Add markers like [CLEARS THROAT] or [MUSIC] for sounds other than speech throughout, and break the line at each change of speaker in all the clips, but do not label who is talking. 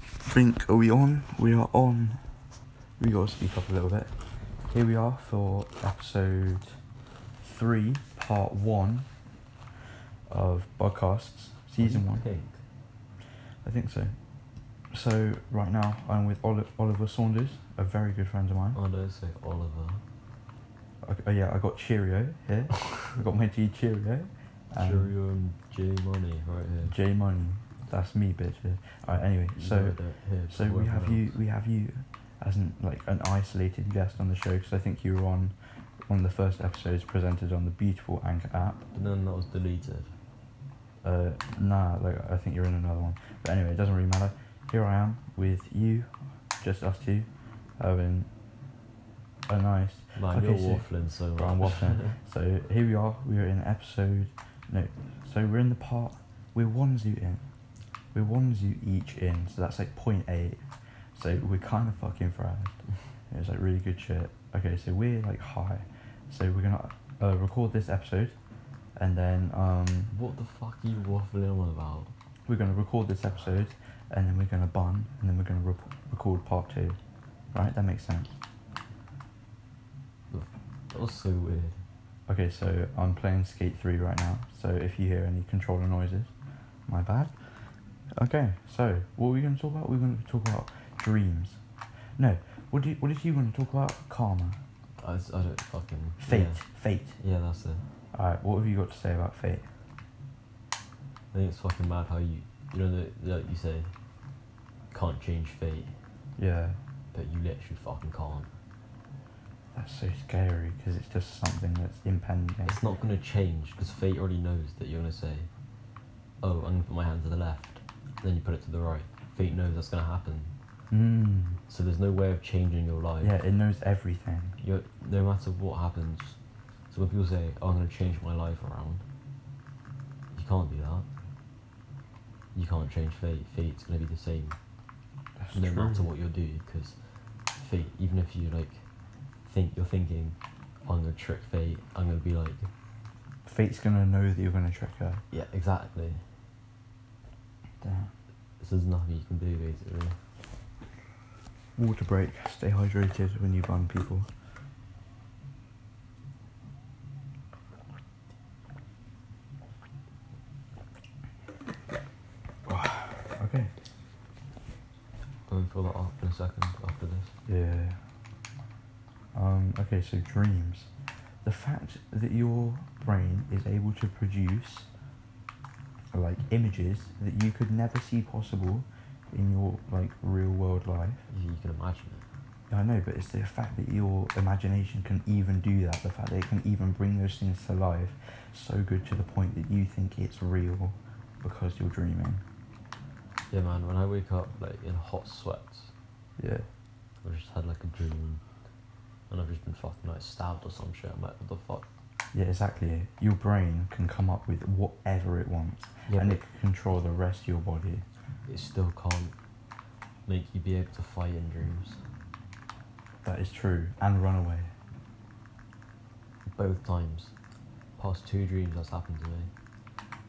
think, are we on? We are on. We gotta speak up a little bit. Here we are for episode three, part one of podcasts, season one.
Pink.
I think so. So right now I'm with Oli- Oliver Saunders, a very good friend of mine.
Oh, don't say Oliver.
I, oh yeah, I got Cheerio
[LAUGHS]
here. I got my G Cheerio. and
Cheerio and J Money right here.
J Money. That's me, bitch. Alright. Anyway,
You
so
got that here
so we
somewhere
have you.
else.
We have you as an like an isolated guest on the show because I think you were on one of the first episodes presented on the beautiful Anchor app.
But then that was deleted.
Uh, nah, like I think you're in another one. But anyway, it doesn't really matter. Here I am with you, just us two, having a nice
Man,
Okay,
you're
so-
waffling so much.
brown waffle. so here we are. We are in episode no. So we're in the part. We're one zoo in. We're one zoo each in. So that's like point eight. So we're kind of fucking fried. [LAUGHS] It was like really good shit. Okay, so we're like high. So we're gonna uh, record this episode, and then um.
[LAUGHS] what the fuck are you waffling on about?
we're going to record this episode and then we're going to bun and then we're going to rep- record part two. Right? That makes sense.
That was so weird.
Okay, so I'm playing Skate 3 right now. So if you hear any controller noises, my bad. Okay, so what are we going to talk about? We're going to talk about dreams. No, what, do you, what did you want to talk about? Karma.
I, s- I don't fucking.
Fate.
Yeah.
Fate.
Yeah, that's it.
Alright, what have you got to say about fate?
I think it's fucking mad how you, you know, the- like you say, can't change fate,
Yeah,
but you literally fucking can't.
that's so scary because it's just something that's impending.
It's not gonna change because fate already knows that you're gonna say, "Oh, I'm gonna put my hand to the left," then you put it to the right. Fate knows that's gonna happen,
Mm.
so there's no way of changing your life.
Yeah, it knows everything.
You're, no matter what happens, so when people say, oh, "I'm gonna change my life around," you can't do that. You can't change fate. Fate's gonna be the same
That's
no
true.
matter what you do because fate even if you like think you're thinking i'm gonna trick fate i'm gonna be like
Fate's gonna know that you're gonna trick her.
yeah exactly
Damn.
this is nothing you can do basically
Water break. Stay hydrated when you bun people. [SIGHS] okay.
i'm gonna fill that up in a second after this
Yeah. Um, okay, so dreams. The fact that your brain is able to produce like images that you could never see possible in your like real world life.
if you can imagine it
I know, but it's the fact that your imagination can even do that, the fact that it can even bring those things to life so good to the point that you think it's real because you're dreaming.
yeah man when i wake up like in hot sweats
Yeah.
i just had like a dream and i've just been fucking like stabbed or some shit i'm like what the fuck
Yeah, exactly. Your brain can come up with whatever it wants
yeah
and
but
it can control the rest of your body.
it still can't make you be able to fight in dreams
That is true. And run away.
both times. Past two dreams that's happened to me.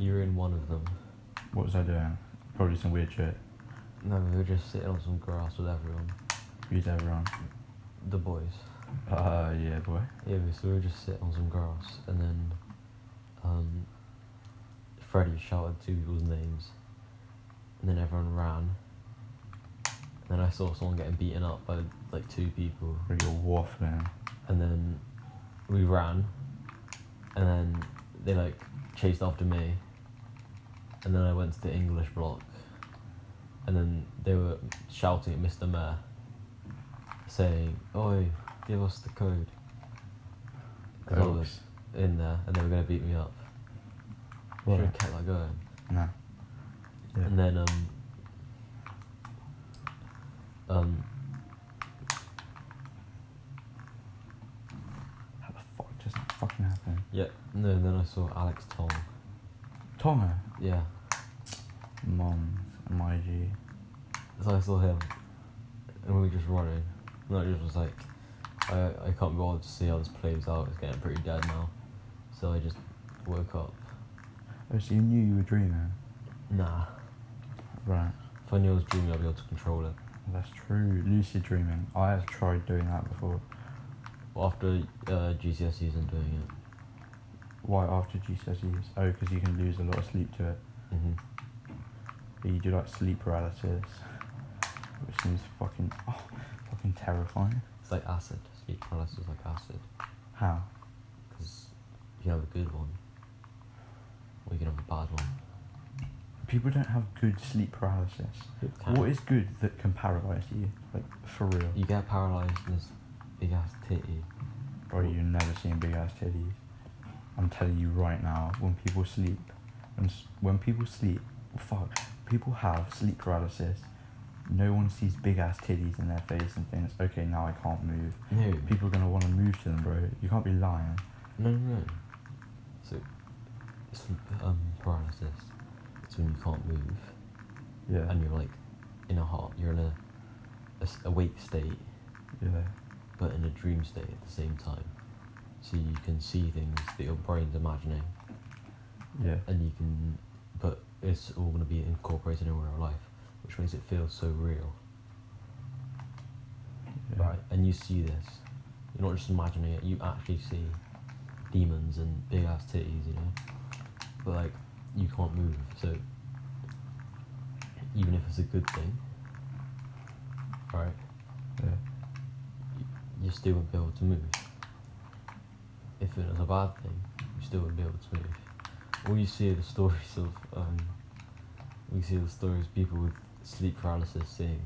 You were in one of them.
What was I doing? Probably some weird shit.
No, we were just sitting on some grass with everyone.
Who's everyone?
The boys.
Uh, yeah, boy.
Yeah, we- so we were just sitting on some grass and then um Freddy shouted two people's names. And then everyone ran. And then I saw someone getting beaten up by like two people.
Really waffling.
And then we ran. And then they like chased after me. And then I went to the English block. And then they were shouting at Mr. Mayor, saying, Oi, give us the code. 'Cause I was in there and they were going to beat me up.
Right.
Should have kept that going.
No. Yeah.
And then, um, um,
How the fuck does that fucking happen?
yeah, no, and then I saw Alex Tong.
Tonga.
Yeah,
Mons, my G.
So I saw him, and we were just running. And I just was like, I, I can't be bothered to see how this plays out. It's getting pretty dead now. So I just woke up.
Oh, so you knew you were dreaming?
Nah.
Right.
If I knew I was dreaming, I'd be able to control it.
That's true. Lucid dreaming. I have tried doing that before.
Well, after uh, GCSEs and doing it.
Why after GCSEs? Oh, because you can lose a lot of sleep to it.
hmm
But you do like sleep paralysis, [LAUGHS] which seems fucking oh, fucking terrifying.
It's like acid. Sleep paralysis is like acid.
How?
Because you can have a good one, or you can have a bad one.
People don't have good sleep paralysis.
It can-
What is good that can paralyze you? Like for real?
You get paralysed and this big ass titty.
Bro, you've never seen big ass titties. I'm telling you right now, when people sleep, when, s- when people sleep, fuck, people have sleep paralysis. No one sees big ass titties in their face and thinks, okay, now I can't move.
No,
People are gonna want to move to them, bro. You can't be lying.
no, no. no. So, sleep um, paralysis. It's when you can't move
Yeah.
and you're like in a heart. You're in a, a s- awake state,
yeah.
but in a dream state at the same time. So you can see things that your brain's imagining,
Yeah.
and you can, but it's all gonna be incorporated in real life, which makes it feel so real.
yeah.
Right, and you see this. You're not just imagining it, you actually see demons and big ass titties, you know? But like, you can't move, so even if it's a good thing, right,
Yeah.
you still won't be able to move. If it was a bad thing, you still won't be able to move. All you see are the stories of, um, we see the stories of people with sleep paralysis seeing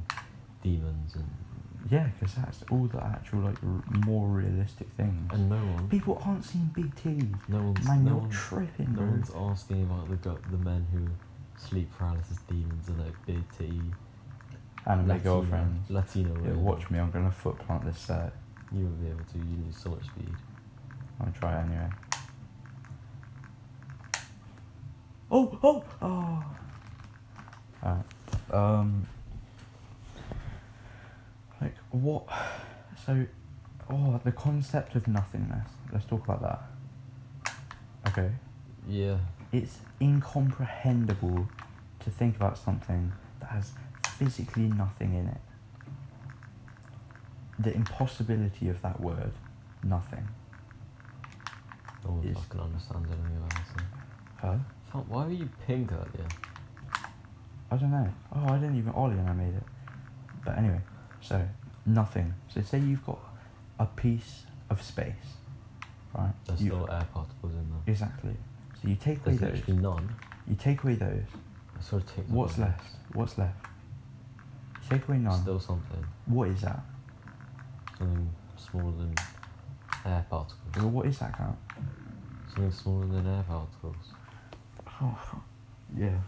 demons and,
Yeah, because that's all the actual, like, r- more realistic things.
and no one.
people aren't seeing big titties.
No one's,
Man,
no
you're
one's
tripping,
No
bro.
one's asking about the gu- the men who sleep paralysis demons and like big titty
and my
Latino-
girlfriends.
Latino
Yeah,
women.
watch me, I'm gonna foot plant this set.
You won't be able to. You lose so much speed.
I'll try it anyway. Oh, oh, oh. Alright. Um. Like what? So, oh, the concept of nothingness. Let's talk about that. Okay.
Yeah.
It's incomprehensible to think about something that has physically nothing in it. The impossibility of that word, nothing.
No one
Yes.
fucking understands anything about this.
Huh?
Fuck, why were you pink earlier?
I don't know. Oh, I didn't even ollie and I made it. But anyway, so nothing. So say you've got a piece of space, right?
There's
You-
still air particles in there.
exactly. So you take away
There's
those.
literally none.
You take away those.
I sort of take.
What's left? What's left? You take away none.
Still something.
What is that?
Something smaller than air particles.
Well, what is that count?
Something smaller than air particles.
Oh, yeah.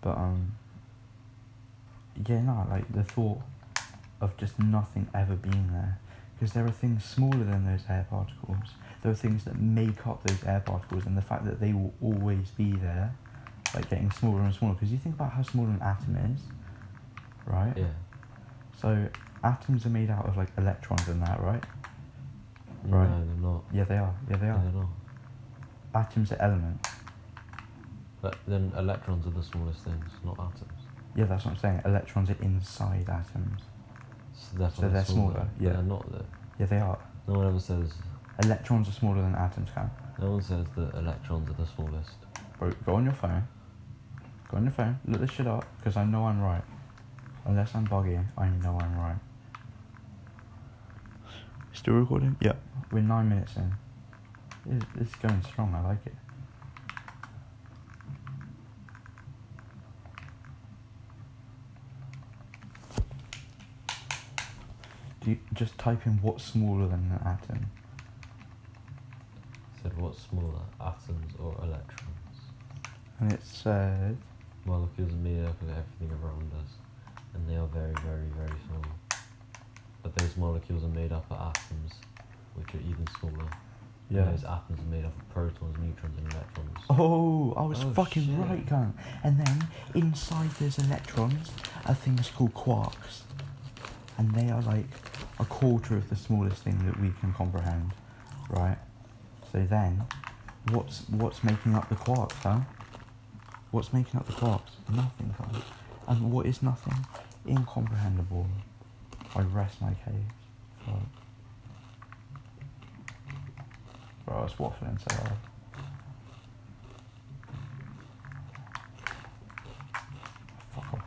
But um, yeah, no, like the thought of just nothing ever being there, because there are things smaller than those air particles. There are things that make up those air particles, and the fact that they will always be there, like getting smaller and smaller. Because you think about how small an atom is, right?
Yeah.
So atoms are made out of like electrons and that, right? Right.
No, they're not.
Yeah, they are. Yeah, they
No,
are.
they're not.
Atoms are elements.
But then electrons are the smallest things, not atoms.
Yeah, that's what I'm saying. Electrons are inside atoms.
So that's
So
why
they're smaller, yeah.
They're not though.
Yeah, they are.
No one ever says.
Electrons are smaller than atoms, can.
No one says that electrons are the smallest.
Bro, go on your phone. Go on your phone. Look this shit up, because I know I'm right. Unless I'm bugging, I know I'm right. Still recording? Yeah. We're nine minutes in. It's, it's going strong. I like it. Do you, just type in what's smaller than an atom.
Said what's smaller, atoms or electrons?
And it said,
Molecules are made up of everything around us, and they are very, very, very small. But those molecules are made up of atoms, which are even smaller. And
yeah.
Those atoms are made up of protons, neutrons, and electrons.
Oh, I was
Oh,
fucking
shit.
right, cunt. And then inside those electrons are things called quarks, and they are like a quarter of the smallest thing that we can comprehend, right? So then, what's what's making up the quarks, huh? What's making up the clocks? Nothing, guys. And what is nothing? Incomprehensible. I rest my case. Fuck. Bro, I was waffling so hard. Fuck off.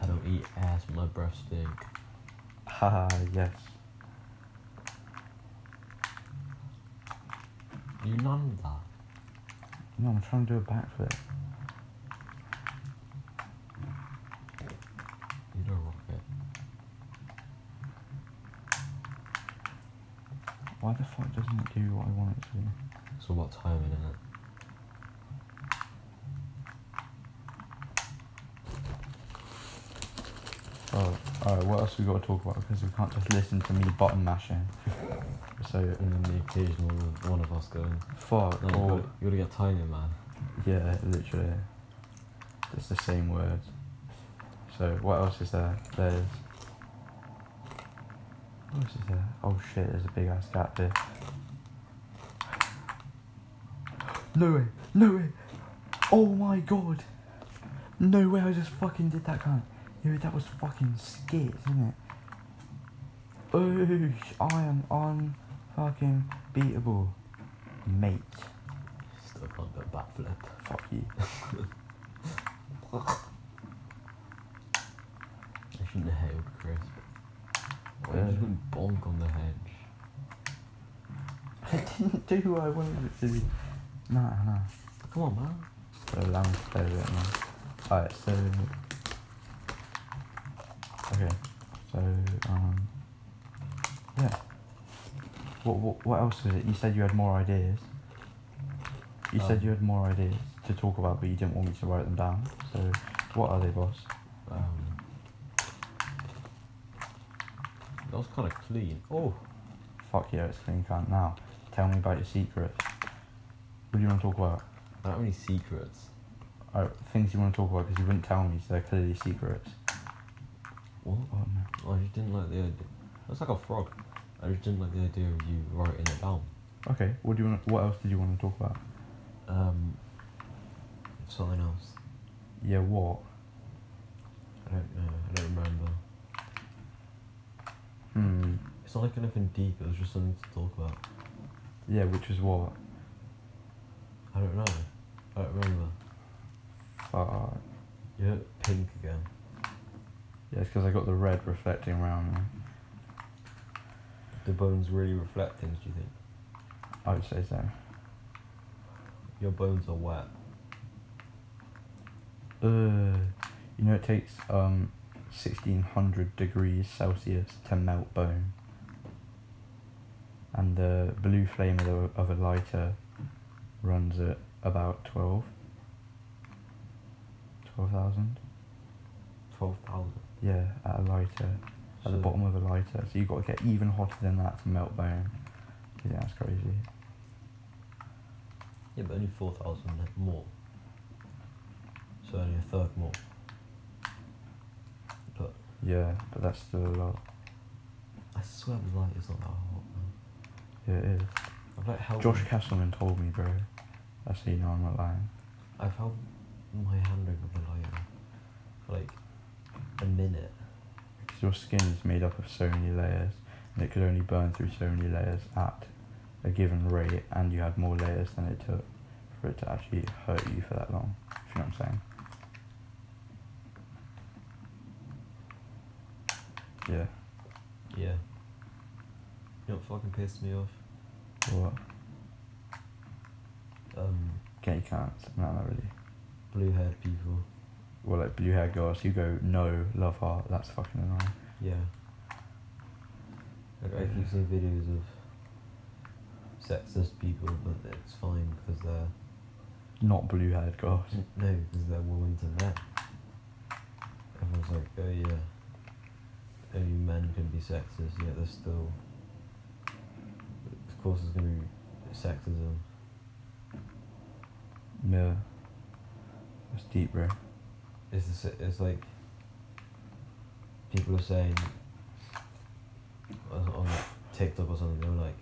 I don't eat ass, my breath stink.
Haha, yes.
You none of that.
No, I'm trying to do a backflip.
You don't rocket.
Why the fuck doesn't it do what I want it to do?
It's all about timing, isn't it?
Oh, alright, what else we got to talk about? Because we can't just listen to me button mashing. [LAUGHS] so,
And then the occasional one of us going,
fuck.
no, you,
or-
gotta, you gotta get timing, man.
Yeah, literally. It's the same words. So what else is there? There's what else is there? Oh shit, there's a big ass gap there. No way, no way! Oh my god! No way I just fucking did that cunt. Yo, that was fucking skit, isn't it? Oh, I am on fucking beatable. Mate.
Still can't do a backflip.
Fuck you.
I shouldn't have hailed Chris. Why
Yeah.
you just went bonk on the hedge?
I didn't [LAUGHS] do what I wanted it to do. Nah, nah.
Come on, man.
But allow me to play with it now. Alright, so. Okay. So, um. Yeah. What, what, what else was it? You said you had more ideas. You said
Um,
you had more ideas to talk about, but you didn't want me to write them down. So, what are they, boss?
Um, that was kind of clean. Oh,
Fuck yeah, it's clean cunt. Now, tell me about your secrets. What do you want to talk about?
I don't have any secrets.
Uh, things you want to talk about because you wouldn't tell me, so they're clearly secrets.
What?
Oh no.
I just didn't like the idea. That's like a frog. I just didn't like the idea of you writing it down.
Okay. What do you want? What else did you want to talk about?
Um, something else.
Yeah. What?
I don't know. I don't remember.
Hmm.
It's not like anything deep. It was just something to talk about.
Yeah. Which is what?
I don't know. I don't remember.
Fuck.
You're pink again.
Yeah, it's because I got the red reflecting around me.
The bones really reflect things. Do you think
I would say so.
your bones are wet?
Uh, you know it takes um, sixteen hundred degrees Celsius to melt bone. And the blue flame of, the, of a lighter runs at about twelve. Twelve thousand.
Twelve thousand.
Yeah, at a lighter. at the
So-
bottom of a lighter. So you've got to get even hotter than that to melt bone. Yeah, that's crazy.
Yeah, but only 4,000 more. So only a third more. But
Yeah, but that's still a lot.
I swear the light is not that hot, man.
Yeah, it is.
I've like held.
Josh Castleman told me, bro. That's how you know I'm not lying.
I've held my hand over the light for like a minute.
Because your skin is made up of so many layers, and it could only burn through so many layers at a given rate, and you had more layers than it took for it to actually hurt you for that long. If you know what I'm saying? Yeah.
Yeah. You know what fucking pissed me off?
What?
Um,
Gay can't. No, not really.
blue haired people.
Well, like blue hair girls, you go, no, love heart, that's fucking annoying.
Yeah. Like, I keep seeing videos of sexist people, but it's fine because they're. [CLEARS THROAT]
Not blue haired girls.
N- No, because they're women to men. Everyone's like, oh yeah, only men can be sexist, yet there's still. Of course, there's gonna be sexism.
Yeah. That's deep, bro.
It's, the, s- it's like. People are saying. On on TikTok or something, they were like,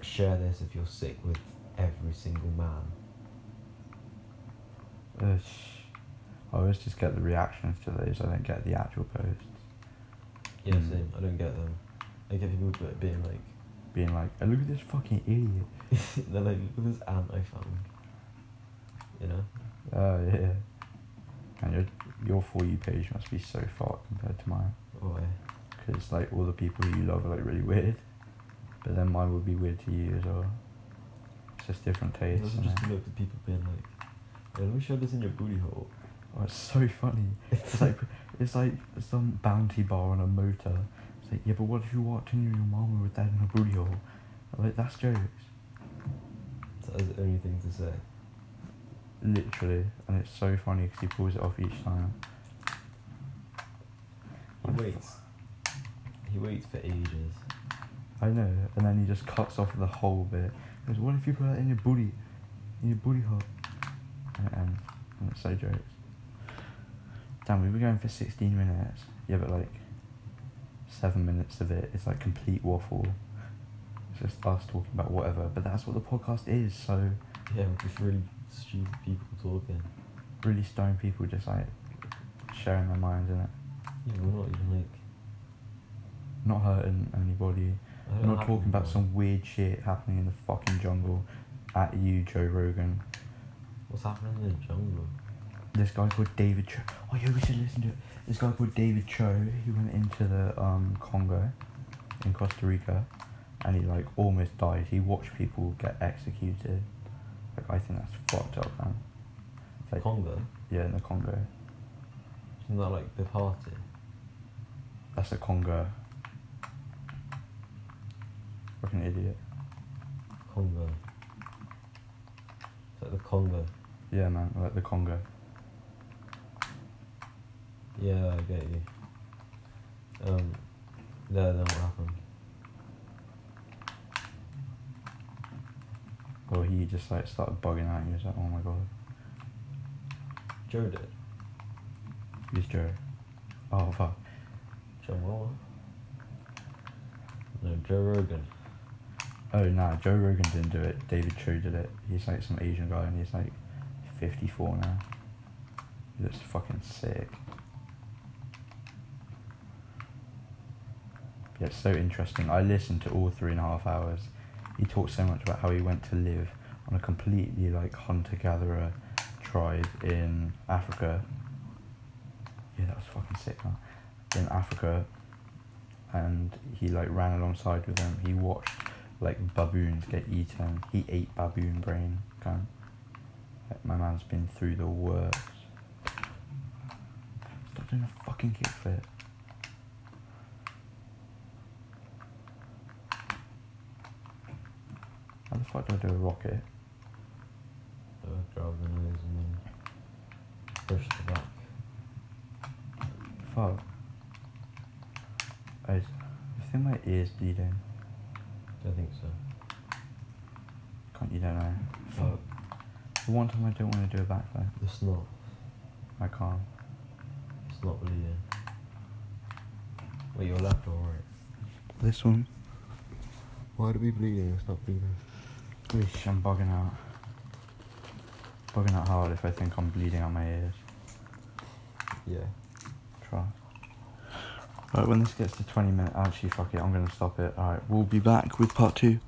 share this if you're sick with every single man.
Ugh. I always just get the reactions to those. I don't get the actual posts
Yeah,
Mm.
same. I don't get them. I get people be- being like, [LAUGHS]
being like, oh, "Look at this fucking idiot."
they're like, look at this ant I found. You know?
Oh yeah. And your your for you page must be so far compared to mine,
Boy.
because like all the people who you love are like really weird, but then mine would be weird to you as well. It's just different
It's
tastes.
also
and
just
that.
look at people being like, "Oh, let me show this in your booty [LAUGHS] hole.
Oh, it's so funny. It's like it's like some bounty bar on a motor. It's like yeah, but what if you walked in and your mama with that in a booty hole? I'm like that's jokes,
That is the only thing to say.
literally, and it's so funny because he pulls it off each time.
He waits. He waits for ages.
I know, and then he just cuts off the whole bit. He goes, what if you put that in your booty, in your booty hole? And, it ends. and it's so jokes. Damn, we were going for 16 minutes. Yeah, but like, seven minutes of it is like complete waffle. It's just us talking about whatever, but that's what the podcast is, so
Yeah, with just really stupid people talking.
really stoned people just like sharing their minds in it.
Yeah, we're not even like.
Not hurting anybody.
I don't
I'm not
have
talking about
one.
some weird shit happening in the fucking jungle at you, Joe Rogan.
What's happening in the jungle?
this guy called David Cho. Oh yeah, we should listen to it. This guy called David Cho. He went into the um, Congo, in Costa Rica, and he like almost died. He watched people get executed. Like I think that's fucked up, man. It's like-
Congo?
Yeah, in the Congo.
Isn't that like the party?
That's the Congo. Fucking idiot.
Congo. It's like the Congo.
Yeah, man. Like the Congo.
Yeah, I get you. Um, there, then what happened?
Well, he just like started bugging out. He was like, oh my god,
Joe did.
he's Joe. Oh fuck.
Joe Wawa? No, Joe Rogan.
Oh no, Joe Rogan didn't do it. David Cho did it. He's like some Asian guy, and he's like fifty-four now. He looks fucking sick. Yeah, it's so interesting. I listened to all three and a half hours. He talked so much about how he went to live on a completely like hunter-gatherer tribe in Africa. Yeah, that was fucking sick. Man. In Africa, and he like ran alongside with them. He watched like baboons get eaten. He ate baboon brain. Can like, my man's been through the worst. Stop doing a fucking kickflip. How the fuck do I do a rocket?
So I grab the nose and then push the back.
Fuck. I, I think my ear's bleeding.
Don't think so.
Can't you don't know? Fuck. The one time I don't want to do a backflip,
The snot.
I can't.
It's not bleeding. Wait, your left or right?
This one.
Why do we bleeding? It's not bleeding.
Oosh, I'm bugging out. Bugging out hard if I think I'm bleeding out my ears.
Yeah.
Try. Right, when this gets to 20 minutes, actually, fuck it, I'm gonna stop it. Alright, we'll be back with part two.